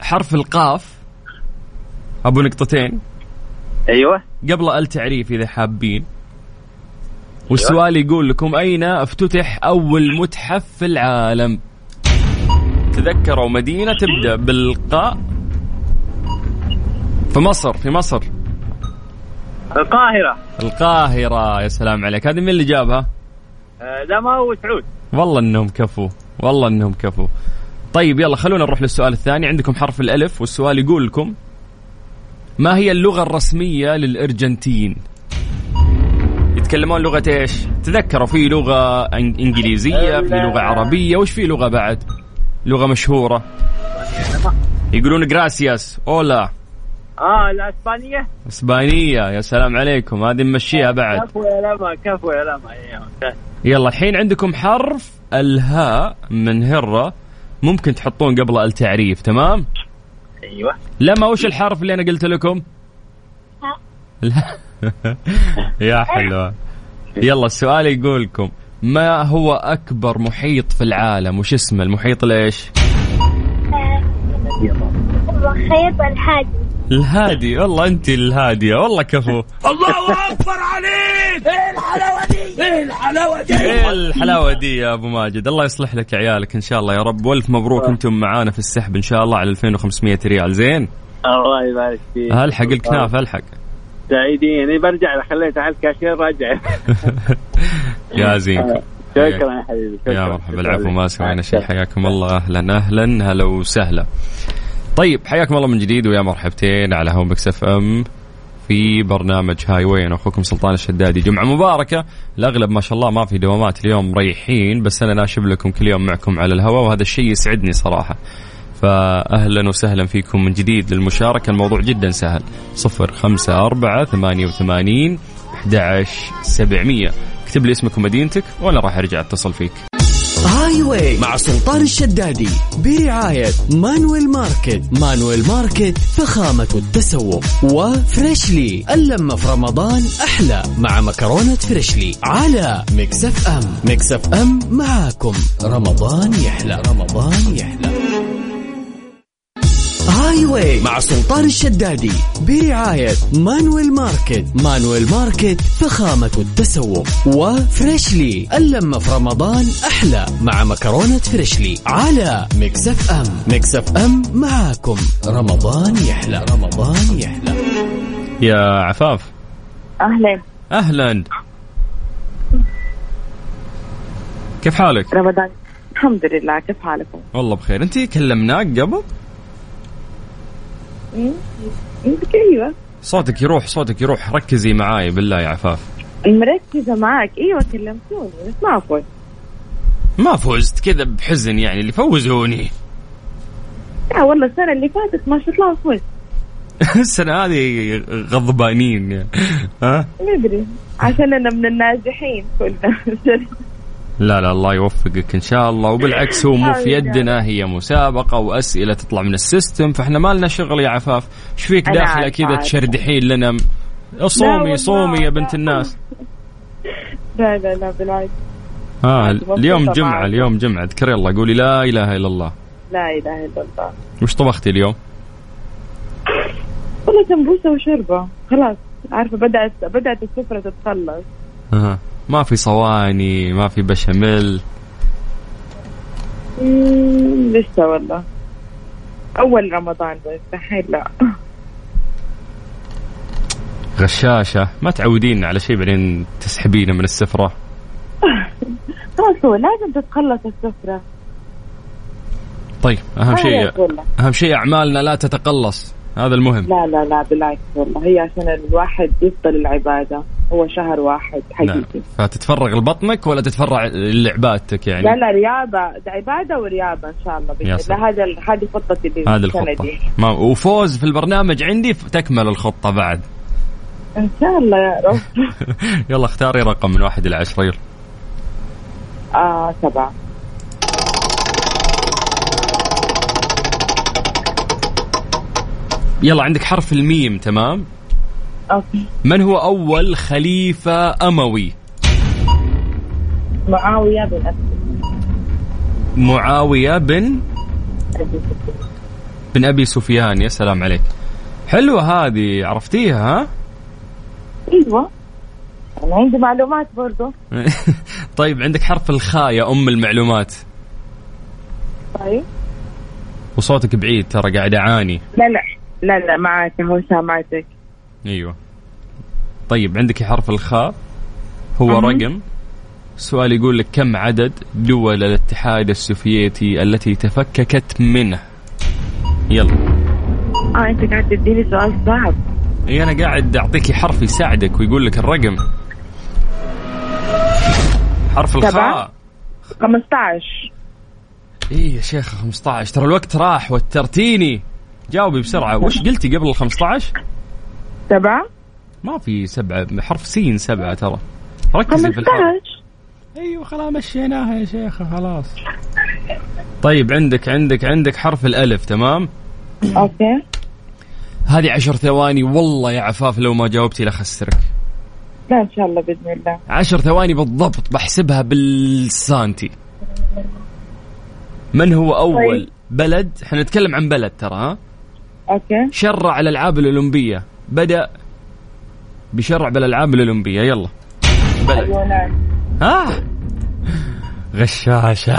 Speaker 2: حرف القاف ابو نقطتين
Speaker 5: ايوه
Speaker 2: قبل التعريف إذا حابين والسؤال يقول لكم أين افتتح أول متحف في العالم تذكروا مدينة تبدأ بالقاء في مصر في مصر
Speaker 5: القاهرة
Speaker 2: القاهرة يا سلام عليك هذه من اللي جابها
Speaker 5: آه، لا ما هو سعود
Speaker 2: والله انهم كفو والله انهم كفو طيب يلا خلونا نروح للسؤال الثاني عندكم حرف الالف والسؤال يقول لكم ما هي اللغه الرسميه للارجنتين يتكلمون لغه ايش تذكروا في لغه إن- انجليزيه في لغه عربيه وش في لغه بعد لغه مشهوره يقولون جراسياس اولا
Speaker 5: اه الاسبانية
Speaker 2: اسبانيه يا سلام عليكم هذه نمشيها بعد
Speaker 5: كفو يا لما كفو يا لما إيه، ممتاز.
Speaker 2: يلا الحين عندكم حرف الهاء من هرة ممكن تحطون قبل التعريف تمام
Speaker 5: ايوه
Speaker 2: لما وش الحرف اللي انا قلت لكم لا يا حلوة يلا السؤال يقول لكم ما هو اكبر محيط في العالم وش اسمه المحيط ليش
Speaker 7: وخيط الحاج
Speaker 2: الهادي والله انت الهادية والله كفو ايه الحلاوه دي يا ابو ماجد الله يصلح لك عيالك ان شاء الله يا رب والف مبروك انتم معانا في السحب ان شاء الله على 2500 ريال زين
Speaker 5: الله يبارك فيك
Speaker 2: الحق الكنافه الحق
Speaker 5: سعيدين إيه، برجع خليته على الكاشير راجع
Speaker 2: يا زين
Speaker 5: شكرا يا حبيبي شكرا
Speaker 2: يا مرحبا
Speaker 5: شكرا
Speaker 2: العفو ما
Speaker 5: لك.
Speaker 2: سوينا شيء حياكم الله اهلا اهلا هلا وسهلا طيب حياكم الله من جديد ويا مرحبتين على هومكس اف ام في برنامج هاي واي انا اخوكم سلطان الشدادي جمعه مباركه الاغلب ما شاء الله ما في دوامات اليوم مريحين بس انا ناشب لكم كل يوم معكم على الهواء وهذا الشيء يسعدني صراحه فأهلا وسهلا فيكم من جديد للمشاركة الموضوع جدا سهل صفر خمسة أربعة ثمانية وثمانين سبعمية اكتب لي اسمك ومدينتك وأنا راح أرجع أتصل فيك
Speaker 1: هاي واي مع سلطان الشدادي برعاية مانويل ماركت مانويل ماركت فخامة التسوق وفريشلي اللمة في رمضان أحلى مع مكرونة فريشلي على مكسف أم مكسف أم معاكم رمضان يحلى رمضان يحلى هاي واي مع سلطان الشدادي برعاية مانويل ماركت مانويل ماركت فخامة التسوق وفريشلي اللمة في رمضان أحلى مع مكرونة فريشلي على مكسف أم مكسف أم معاكم رمضان يحلى رمضان يحلى
Speaker 2: يا عفاف
Speaker 8: اهلا
Speaker 2: أهلا كيف حالك؟
Speaker 8: رمضان الحمد لله كيف حالكم؟
Speaker 2: والله بخير أنت كلمناك قبل؟
Speaker 8: انت ايوه
Speaker 2: صوتك يروح صوتك يروح ركزي معاي بالله يا عفاف
Speaker 8: مركزه معك ايوه كلمتوني بس ما فوت
Speaker 2: ما فزت كذا بحزن يعني اللي فوزوني
Speaker 8: لا والله السنه اللي فاتت ما شاء الله فوت
Speaker 2: السنة هذه غضبانين يعني. ها؟
Speaker 8: ندري عشان انا من الناجحين كلنا
Speaker 2: لا لا الله يوفقك ان شاء الله وبالعكس هو مو في يدنا هي مسابقه واسئله تطلع من السيستم فاحنا ما لنا شغل يا عفاف ايش فيك
Speaker 8: أنا
Speaker 2: داخله
Speaker 8: عارفة،
Speaker 2: كذا
Speaker 8: عارفة.
Speaker 2: تشردحين لنا
Speaker 8: لا والله،
Speaker 2: صومي صومي يا
Speaker 8: لا.
Speaker 2: بنت الناس
Speaker 8: لا لا لا بالعكس
Speaker 2: ها
Speaker 8: مبسوطة
Speaker 2: آه، اليوم
Speaker 8: معك.
Speaker 2: جمعه اليوم جمعه اذكري الله قولي لا اله الا الله
Speaker 8: لا اله الا الله
Speaker 2: وش طبختي اليوم؟
Speaker 8: والله سمبوسه وشربه خلاص عارفه بدات بدات السفره تتخلص
Speaker 2: أها. ما في صواني ما في بشاميل
Speaker 8: مم، لسه والله اول رمضان بس دحين لا
Speaker 2: غشاشه ما تعودين على شيء بعدين تسحبينه من السفره
Speaker 8: خلاص هو لازم تتخلص السفره
Speaker 2: طيب اهم شيء
Speaker 8: خلاص والله
Speaker 2: اهم شيء اعمالنا لا تتقلص هذا المهم
Speaker 8: لا لا لا بالعكس والله هي عشان الواحد يفضل العبادة هو شهر واحد
Speaker 2: نعم
Speaker 8: حقيقي
Speaker 2: فتتفرغ لبطنك ولا تتفرع لعبادتك يعني
Speaker 8: لا لا رياضة ده عبادة ورياضة إن شاء الله
Speaker 2: يا
Speaker 8: بإذن
Speaker 2: سلام.
Speaker 8: الله هذا ال- هذه خطتي لي
Speaker 2: هذه
Speaker 8: السنة
Speaker 2: الخطة
Speaker 8: دي.
Speaker 2: ما وفوز في البرنامج عندي تكمل الخطة بعد
Speaker 8: إن شاء الله يا رب
Speaker 2: يلا اختاري رقم من واحد إلى عشرة يلا
Speaker 8: آه سبعة
Speaker 2: يلا عندك حرف الميم تمام
Speaker 8: أوكي
Speaker 2: من هو أول خليفة أموي
Speaker 8: معاوية بن أبي
Speaker 2: معاوية بن
Speaker 8: أبي
Speaker 2: بن أبي سفيان يا سلام عليك حلوة هذه عرفتيها ها
Speaker 8: أيوة أنا عندي معلومات برضو
Speaker 2: طيب عندك حرف الخاء يا أم المعلومات
Speaker 8: طيب
Speaker 2: وصوتك بعيد ترى قاعد أعاني
Speaker 8: لا لا لا لا معك هو سامعتك
Speaker 2: ايوه طيب عندك حرف الخاء هو
Speaker 8: أها.
Speaker 2: رقم سؤال يقول لك كم عدد دول الاتحاد السوفيتي التي تفككت منه يلا
Speaker 8: آه أنت قاعد تديني سؤال صعب
Speaker 2: اي انا قاعد اعطيك حرف يساعدك ويقول لك الرقم حرف الخاء
Speaker 8: 15
Speaker 2: اي يا شيخ 15 ترى الوقت راح وترتيني جاوبي بسرعه وش قلتي قبل ال 15
Speaker 8: سبعة
Speaker 2: ما في سبعه حرف سين سبعه ترى ركزي في الحرف
Speaker 8: 15
Speaker 2: ايوه خلاص مشيناها يا شيخ خلاص طيب عندك عندك عندك حرف الالف تمام
Speaker 8: أوكي
Speaker 2: هذه عشر ثواني والله يا عفاف لو ما جاوبتي لخسرك
Speaker 8: لا إن شاء الله بإذن الله
Speaker 2: عشر ثواني بالضبط بحسبها بالسانتي من هو اول بلد احنا نتكلم عن بلد ترى ها
Speaker 8: أوكي
Speaker 2: شرع الالعاب الاولمبيه بدا بشرع بالالعاب الاولمبيه يلا بلد
Speaker 8: يونان
Speaker 2: ها غشاشه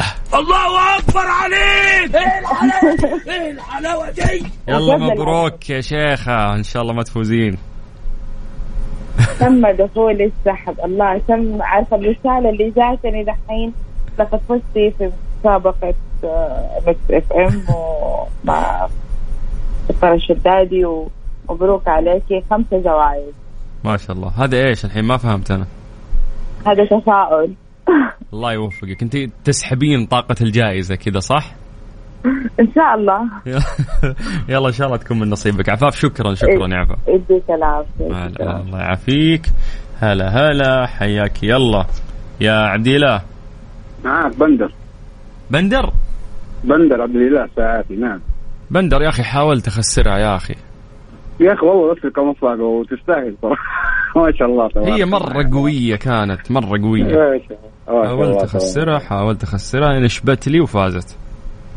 Speaker 2: الله اكبر عليك ايه الحلاوه ايه الحلاوه دي يلا مبروك يا شيخه ان شاء الله ما تفوزين
Speaker 8: تم دخول السحب الله تم عارفة الرسالة اللي جاتني دحين لقد فزتي في مسابقة آه، مكس اف ام ومع سفارة الشدادي و مبروك عليكي خمسة جوائز
Speaker 2: ما شاء الله هذا ايش الحين ما فهمت انا
Speaker 8: هذا تفاؤل
Speaker 2: الله يوفقك انت تسحبين طاقة الجائزة كذا صح؟
Speaker 8: إن شاء الله
Speaker 2: يلا ان شاء الله تكون من نصيبك عفاف شكرا شكرا يا عفاف
Speaker 8: يديك العافية يديك
Speaker 2: هلا
Speaker 8: العافية.
Speaker 2: الله يعافيك هلا هلا حياك يلا يا عبد الاله
Speaker 9: معاك نعم، بندر
Speaker 2: بندر
Speaker 9: بندر عبد الاله ساعاتي نعم
Speaker 2: بندر يا اخي حاولت اخسرها يا اخي
Speaker 9: يا اخي والله وفقك مطلقه وتستاهل صراحه ما شاء الله تبارك
Speaker 2: هي مره قويه كانت مره قويه
Speaker 9: ما شاء الله. ما شاء الله
Speaker 2: حاولت
Speaker 9: تبارك.
Speaker 2: اخسرها حاولت اخسرها نشبت لي وفازت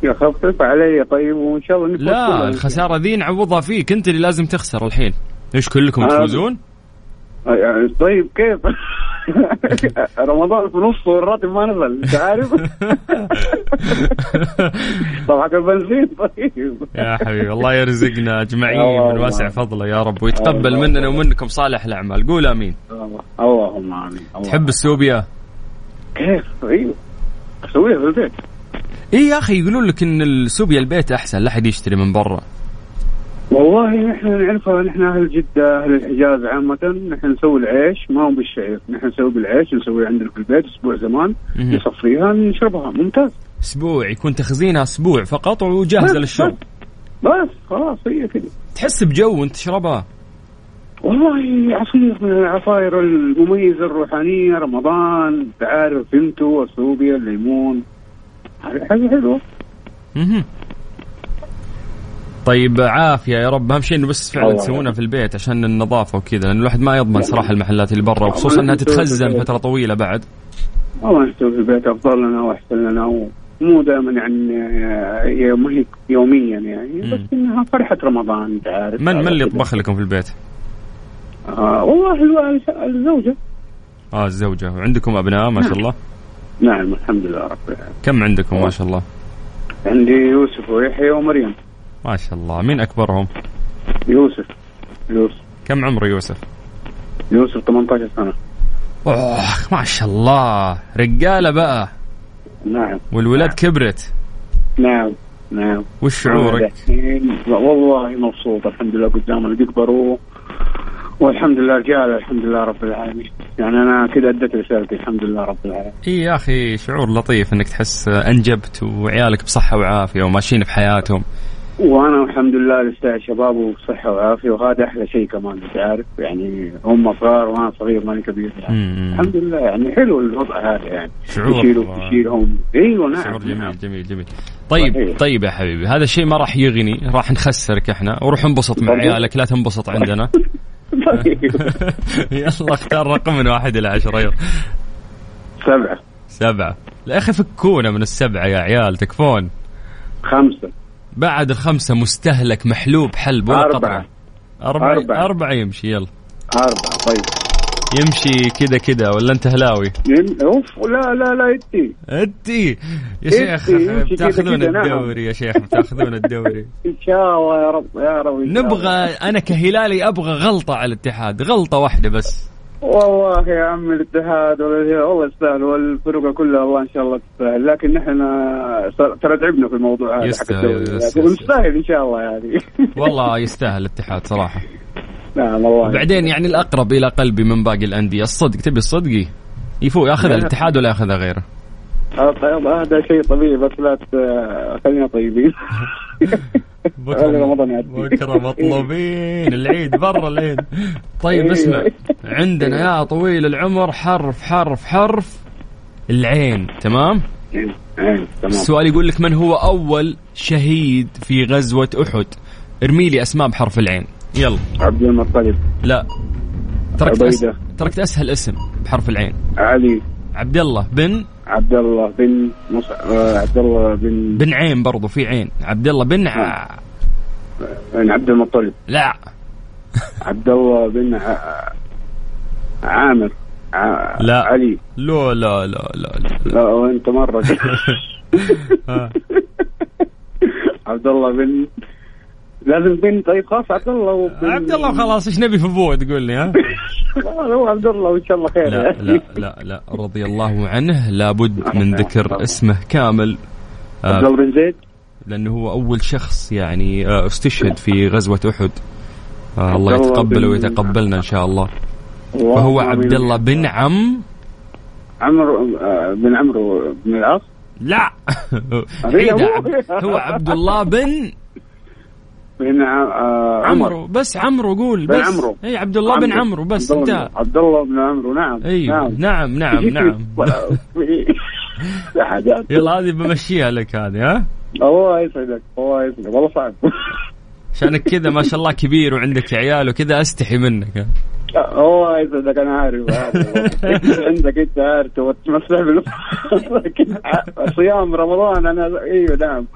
Speaker 9: يا أخي خفف علي طيب وان شاء الله نفوز
Speaker 2: لا
Speaker 9: كلنا.
Speaker 2: الخساره ذي نعوضها فيك انت اللي لازم تخسر الحين ايش كلكم
Speaker 9: آه.
Speaker 2: تفوزون؟
Speaker 9: يعني طيب كيف رمضان في نصه والراتب ما نزل انت عارف طب حق البنزين طيب
Speaker 2: يا حبيبي الله يرزقنا اجمعين
Speaker 9: الله
Speaker 2: من واسع
Speaker 9: الله.
Speaker 2: فضله يا رب ويتقبل
Speaker 9: الله
Speaker 2: مننا
Speaker 9: الله.
Speaker 2: ومنكم صالح الاعمال قول امين
Speaker 9: اللهم امين اللهم
Speaker 2: تحب السوبيا؟
Speaker 9: كيف طيب اسويها في البيت
Speaker 2: اي إيه يا اخي يقولون لك ان السوبيا البيت احسن لا احد يشتري من برا
Speaker 9: والله نحن نعرفها نحن اهل جده اهل الحجاز عامه نحن نسوي العيش ما هو بالشعير نحن نسوي بالعيش نسويه عندنا في البيت اسبوع زمان
Speaker 2: مهم.
Speaker 9: نصفيها نشربها ممتاز
Speaker 2: اسبوع يكون تخزينها اسبوع فقط
Speaker 9: بس-
Speaker 2: وجاهزه للشرب
Speaker 9: بس, بس خلاص هي كذا
Speaker 2: تحس بجو وانت تشربها
Speaker 9: والله عصير من العصائر المميزة الروحانية رمضان تعارف فيمتو السوبيا الليمون هذه حاجة حلوة
Speaker 2: مهم. طيب عافيه يا رب اهم شيء انه بس فعلا
Speaker 9: الله
Speaker 2: تسوونها
Speaker 9: يعافيك.
Speaker 2: في البيت عشان النظافه وكذا لان الواحد ما يضمن صراحه المحلات اللي برا وخصوصا انها تتخزن فتره طويله بعد
Speaker 9: والله نسوي في البيت أفضل لنا وأحسن لنا ومو دائما يعني هي ما هي يوميا يعني بس
Speaker 2: مم.
Speaker 9: إنها فرحة رمضان أنت عارف
Speaker 2: من من اللي يطبخ لكم في البيت؟
Speaker 9: آه والله الو- الزوجة
Speaker 2: اه الزوجه وعندكم ابناء ما شاء الله
Speaker 9: نعم الحمد لله رب العالمين
Speaker 2: كم عندكم ما شاء الله؟
Speaker 9: عندي يوسف ويحيى ومريم
Speaker 2: ما شاء الله مين اكبرهم؟
Speaker 9: يوسف يوسف
Speaker 2: كم عمر يوسف؟
Speaker 9: يوسف 18 سنة
Speaker 2: اوه ما شاء الله رجاله بقى
Speaker 9: نعم
Speaker 2: والولاد كبرت
Speaker 9: نعم نعم
Speaker 2: وش شعورك؟
Speaker 9: الحين والله مبسوط الحمد لله قدام اللي بيكبروا والحمد لله رجال الحمد لله رب العالمين يعني انا كذا اديت رسالتي الحمد لله رب العالمين
Speaker 2: اي يا اخي شعور لطيف انك تحس انجبت وعيالك بصحه وعافيه وماشيين بحياتهم
Speaker 9: وانا الحمد لله لسه شباب وصحه وعافيه وهذا احلى شيء كمان انت عارف يعني هم صغار وانا صغير ماني كبير يعني.
Speaker 2: مم.
Speaker 9: الحمد لله يعني حلو الوضع هذا يعني
Speaker 2: نعم. شعور
Speaker 9: يشيلوا يشيلهم ايوه نعم
Speaker 2: شعور
Speaker 9: نعم.
Speaker 2: جميل جميل جميل طيب
Speaker 9: صحيح.
Speaker 2: طيب يا حبيبي هذا الشيء ما راح يغني راح نخسرك احنا وروح انبسط مع
Speaker 9: طبيعي.
Speaker 2: عيالك لا تنبسط عندنا
Speaker 9: طيب.
Speaker 2: يلا اختار رقم من واحد الى عشرة يلا
Speaker 9: سبعه
Speaker 2: سبعة لا يا اخي فكونا من السبعة يا عيال تكفون
Speaker 9: خمسه
Speaker 2: بعد الخمسة مستهلك محلوب حلب ولا
Speaker 9: أربعة.
Speaker 2: قطرة أربعة أربعة
Speaker 9: أربعة.
Speaker 2: أربعة يمشي يلا
Speaker 9: اربعه طيب
Speaker 2: يمشي كذا كذا ولا أنت هلاوي
Speaker 9: يم- اوف لا لا لا يدي
Speaker 2: أنتي يا شيخ
Speaker 9: يمشي كذا
Speaker 2: بتاخذون
Speaker 9: كذا، نعم.
Speaker 2: الدوري يا شيخ بتاخذون الدوري
Speaker 9: ان شاء الله يا رب يا رب إن شاء الله.
Speaker 2: نبغى أنا كهلالي أبغى غلطة على الاتحاد غلطة واحدة بس
Speaker 9: والله يا عم الاتحاد ولا- والله يستاهل والفرقه كلها والله ان شاء الله تستاهل لكن نحن صار- ترى تعبنا في الموضوع هذا حق
Speaker 2: يستاهل،
Speaker 9: الدوري
Speaker 2: يستاهل.
Speaker 9: لكن نستاهل ان شاء الله يعني
Speaker 2: والله يستاهل الاتحاد صراحة
Speaker 9: نعم والله
Speaker 2: وبعدين يعني الأقرب إلى قلبي من باقي الأندية الصدق تبي الصدقي يفوق
Speaker 9: نعم.
Speaker 2: ياخذها الاتحاد ولا ياخذها غيره
Speaker 9: آه، طيب، هذا شيء طبيعي بس لا ت- خلينا طيبين خلي رمضان
Speaker 2: بكره
Speaker 9: يعدي.
Speaker 2: بكره مطلوبين العيد برا العيد طيب
Speaker 9: أيوة.
Speaker 2: اسمع عندنا
Speaker 9: إيه.
Speaker 2: يا طويل العمر حرف حرف حرف العين تمام
Speaker 9: إيه، تمام
Speaker 2: السؤال يقول لك من هو اول شهيد في غزوه احد ارمي لي اسماء بحرف العين يلا
Speaker 9: عبد المطلب
Speaker 2: لا تركت أس...
Speaker 9: عبيدة.
Speaker 2: تركت اسهل اسم بحرف العين
Speaker 9: علي
Speaker 2: عبد الله بن
Speaker 9: عبد الله بن مصعب عبد الله بن
Speaker 2: بن عين برضو في عين عبد الله بن
Speaker 9: آه.
Speaker 2: ع...
Speaker 9: بن إيه، عبد المطلب
Speaker 2: لا
Speaker 9: عبد الله بن ع- عامر ع-
Speaker 2: لا.
Speaker 9: علي
Speaker 2: لا لا لا لا, لا.
Speaker 9: لا وانت مره
Speaker 2: آه.
Speaker 9: عبد الله بن لازم بن طيب خلاص عبد الله وبن...
Speaker 2: عبد الله خلاص ايش نبي في ابوه تقول لي ها
Speaker 9: خلاص هو عبد الله وان شاء الله خير
Speaker 2: لا لا لا لا رضي الله عنه لابد من ذكر اسمه كامل
Speaker 9: عبد
Speaker 2: آه
Speaker 9: الله بن زيد
Speaker 2: لانه هو اول شخص يعني آه استشهد في غزوه احد آه الله
Speaker 9: عبد الله
Speaker 2: يتقبله
Speaker 9: بن-
Speaker 2: ويتقبلنا ان شاء الله وهو آه. عبد الله بن عم
Speaker 9: عمرو آه، بن عمرو بن العاص
Speaker 2: لا عيد عبد- هو عبد الله بن
Speaker 9: بن ع- آه،
Speaker 2: عمرو بس عمرو قول
Speaker 9: بن
Speaker 2: بس
Speaker 9: عمرو.
Speaker 2: اي عبد الله بن عمرو بس
Speaker 9: عبد الله
Speaker 2: انتهى
Speaker 9: بن- عبد الله بن عمرو نعم
Speaker 2: ايوه
Speaker 9: نعم
Speaker 2: نعم نعم نعم
Speaker 9: لا حاجات
Speaker 2: يلا هذه بمشيها لك هذه ها
Speaker 9: الله يسعدك الله يسعدك والله صعب
Speaker 2: عشانك كذا ما شاء الله كبير وعندك عيال وكذا استحي منك
Speaker 9: الله يسعدك انا عارف عارف. عندك انت عارف تبغى تمسح بال- صيام رمضان انا ايوه نعم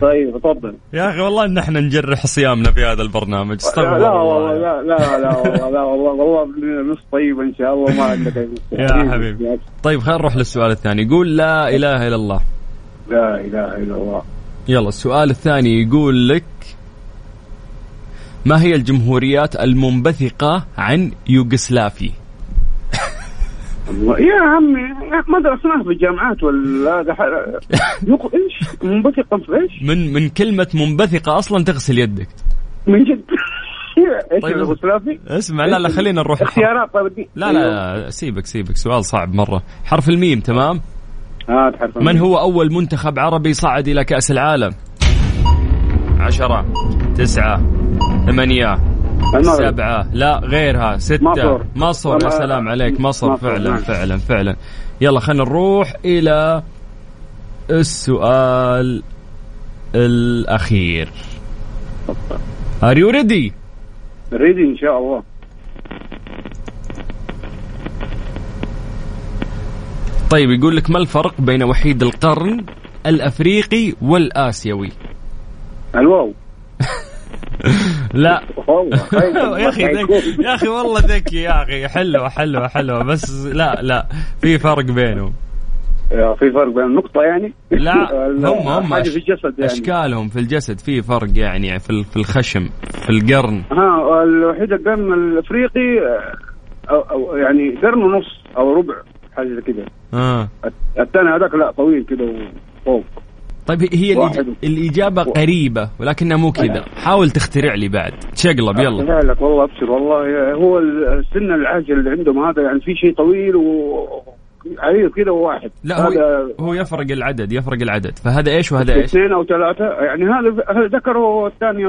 Speaker 9: طيب تفضل
Speaker 2: يا اخي والله ان احنا نجرح صيامنا في هذا البرنامج استغفر
Speaker 9: لا والله
Speaker 2: الله
Speaker 9: لا لا لا والله لا والله والله نص طيب ان شاء الله ما عندك أي مشكلة.
Speaker 2: يا حبيبي طيب خلينا نروح للسؤال الثاني يقول لا اله الا الله
Speaker 9: لا اله الا الله
Speaker 2: يلا السؤال الثاني يقول لك ما هي الجمهوريات المنبثقة عن يوغسلافي؟
Speaker 9: الله- يا عمي ما درسناه في الجامعات ولا هذا ح- يق- ايش منبثقا في ايش؟
Speaker 2: من من كلمة منبثقة أصلا تغسل يدك.
Speaker 9: من جد إيه، ايش
Speaker 2: طيب.
Speaker 9: الغسلافي؟
Speaker 2: اسمع لا لا خلينا نروح الحرف.
Speaker 9: اختيارات طيب ادي-
Speaker 2: لا لا لا، سيبك سيبك سؤال صعب مرة. حرف الميم تمام؟
Speaker 9: ها تحرف
Speaker 2: من هو أول منتخب عربي صعد إلى كأس العالم؟ عشرة تسعة ثمانية
Speaker 9: المغرب
Speaker 2: سبعة لا غيرها ستة
Speaker 9: مصر.
Speaker 2: مصر يا
Speaker 9: أما-
Speaker 2: سلام عليك مصر,
Speaker 9: مصر،
Speaker 2: فعلا
Speaker 9: نعم.
Speaker 2: فعلا فعلا يلا خلينا نروح إلى السؤال الأخير Are you ready?
Speaker 9: ريدي ان شاء الله
Speaker 2: طيب يقول لك ما الفرق بين وحيد القرن الأفريقي والآسيوي؟
Speaker 9: الواو
Speaker 2: لا
Speaker 9: واو
Speaker 2: يا اخي ذكي يا اخي والله ذكي يا اخي حلوه حلوه حلوه بس لا لا في فرق بينهم
Speaker 9: يا في فرق بين النقطة يعني
Speaker 2: لا هم هم
Speaker 9: حاجة في الجسد يعني
Speaker 2: اشكالهم في الجسد في فرق يعني في ال- في الخشم في القرن
Speaker 9: ها الوحيد القرن الافريقي آه، أو, او يعني قرن ونص او ربع حاجة زي كذا
Speaker 2: اه
Speaker 9: الثاني هذاك لا طويل كذا وفوق
Speaker 2: طيب هي الإج-
Speaker 9: واحد.
Speaker 2: الاجابه قريبه ولكنها مو كذا حاول تخترع لي بعد تشقلب يلا
Speaker 9: أقنع لك والله ابشر والله هو السن العاجل اللي عندهم هذا يعني في شيء طويل و عريض كذا وواحد
Speaker 2: لا هو
Speaker 9: هذا
Speaker 2: هو يفرق العدد يفرق العدد فهذا ايش وهذا ايش
Speaker 9: اثنين او ثلاثة يعني هذا هذا ذكر والثاني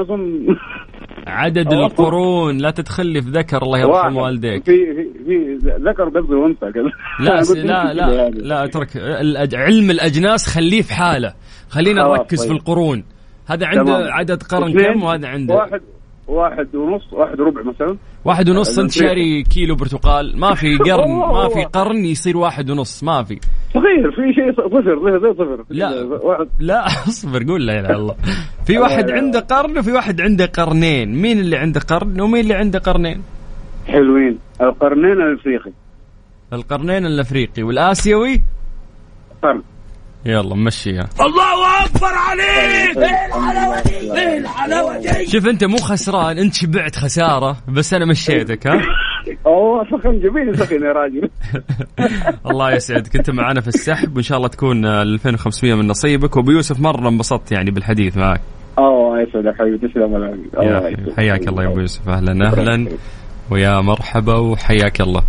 Speaker 9: اظن
Speaker 2: عدد
Speaker 9: هو-
Speaker 2: القرون لا تدخل لي في ذكر الله
Speaker 9: واحد.
Speaker 2: يرحم والديك
Speaker 9: في في- في ذكر قصدي وانثى كذا
Speaker 2: لا
Speaker 9: أنا
Speaker 2: س-
Speaker 9: قلت
Speaker 2: لا
Speaker 9: يمكن كذا
Speaker 2: لا
Speaker 9: يعني.
Speaker 2: لا اترك الأج- علم الاجناس خليه في حاله خلينا
Speaker 9: خلاص
Speaker 2: نركز
Speaker 9: طيب.
Speaker 2: في القرون هذا عنده
Speaker 9: تمام.
Speaker 2: عدد قرن
Speaker 9: اثنين،
Speaker 2: كم وهذا عنده واحد,
Speaker 9: واحد واحد ونص واحد ربع مثلا
Speaker 2: واحد ونص
Speaker 9: الأفريقي.
Speaker 2: انت شاري كيلو برتقال ما في قرن
Speaker 9: والله
Speaker 2: ما
Speaker 9: والله.
Speaker 2: في قرن يصير واحد ونص ما في
Speaker 9: صغير في شيء صفر صفر زي صفر
Speaker 2: لا.
Speaker 9: واحد آه.
Speaker 2: لا اصبر قول لا اله الا الله في واحد
Speaker 9: لا.
Speaker 2: عنده قرن وفي واحد عنده قرنين مين اللي عنده قرن ومين اللي عنده قرنين
Speaker 9: حلوين القرنين الافريقي
Speaker 2: القرنين الافريقي والاسيوي
Speaker 9: قرن
Speaker 2: يلا مشيها
Speaker 9: ايه
Speaker 2: شوف انت مو خسران انت شبعت خساره بس انا مشيتك ها
Speaker 9: اوه سخن جميل سخن يا راجل
Speaker 2: الله يسعدك انت معنا في السحب وان شاء الله تكون آه، 2500 من نصيبك وابو يوسف مره انبسطت يعني بالحديث معك
Speaker 9: اوه يسعدك حبيبي تسلم يا راجل.
Speaker 2: يا
Speaker 9: الله
Speaker 2: حبيبي.
Speaker 9: يسعدك.
Speaker 2: آه، حياك الله يا ابو يوسف اهلا
Speaker 9: شكراً.
Speaker 2: اهلا ويا مرحبا وحياك الله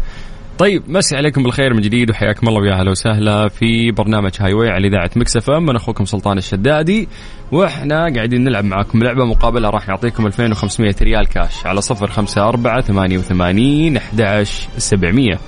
Speaker 2: طيب مسي عليكم بالخير من جديد وحياكم الله ويا اهلا وسهلا في برنامج هاي واي على اذاعه مكس اف ام انا اخوكم سلطان الشدادي واحنا قاعدين نلعب معاكم لعبه مقابله راح نعطيكم 2500 ريال كاش على 054 88 11 700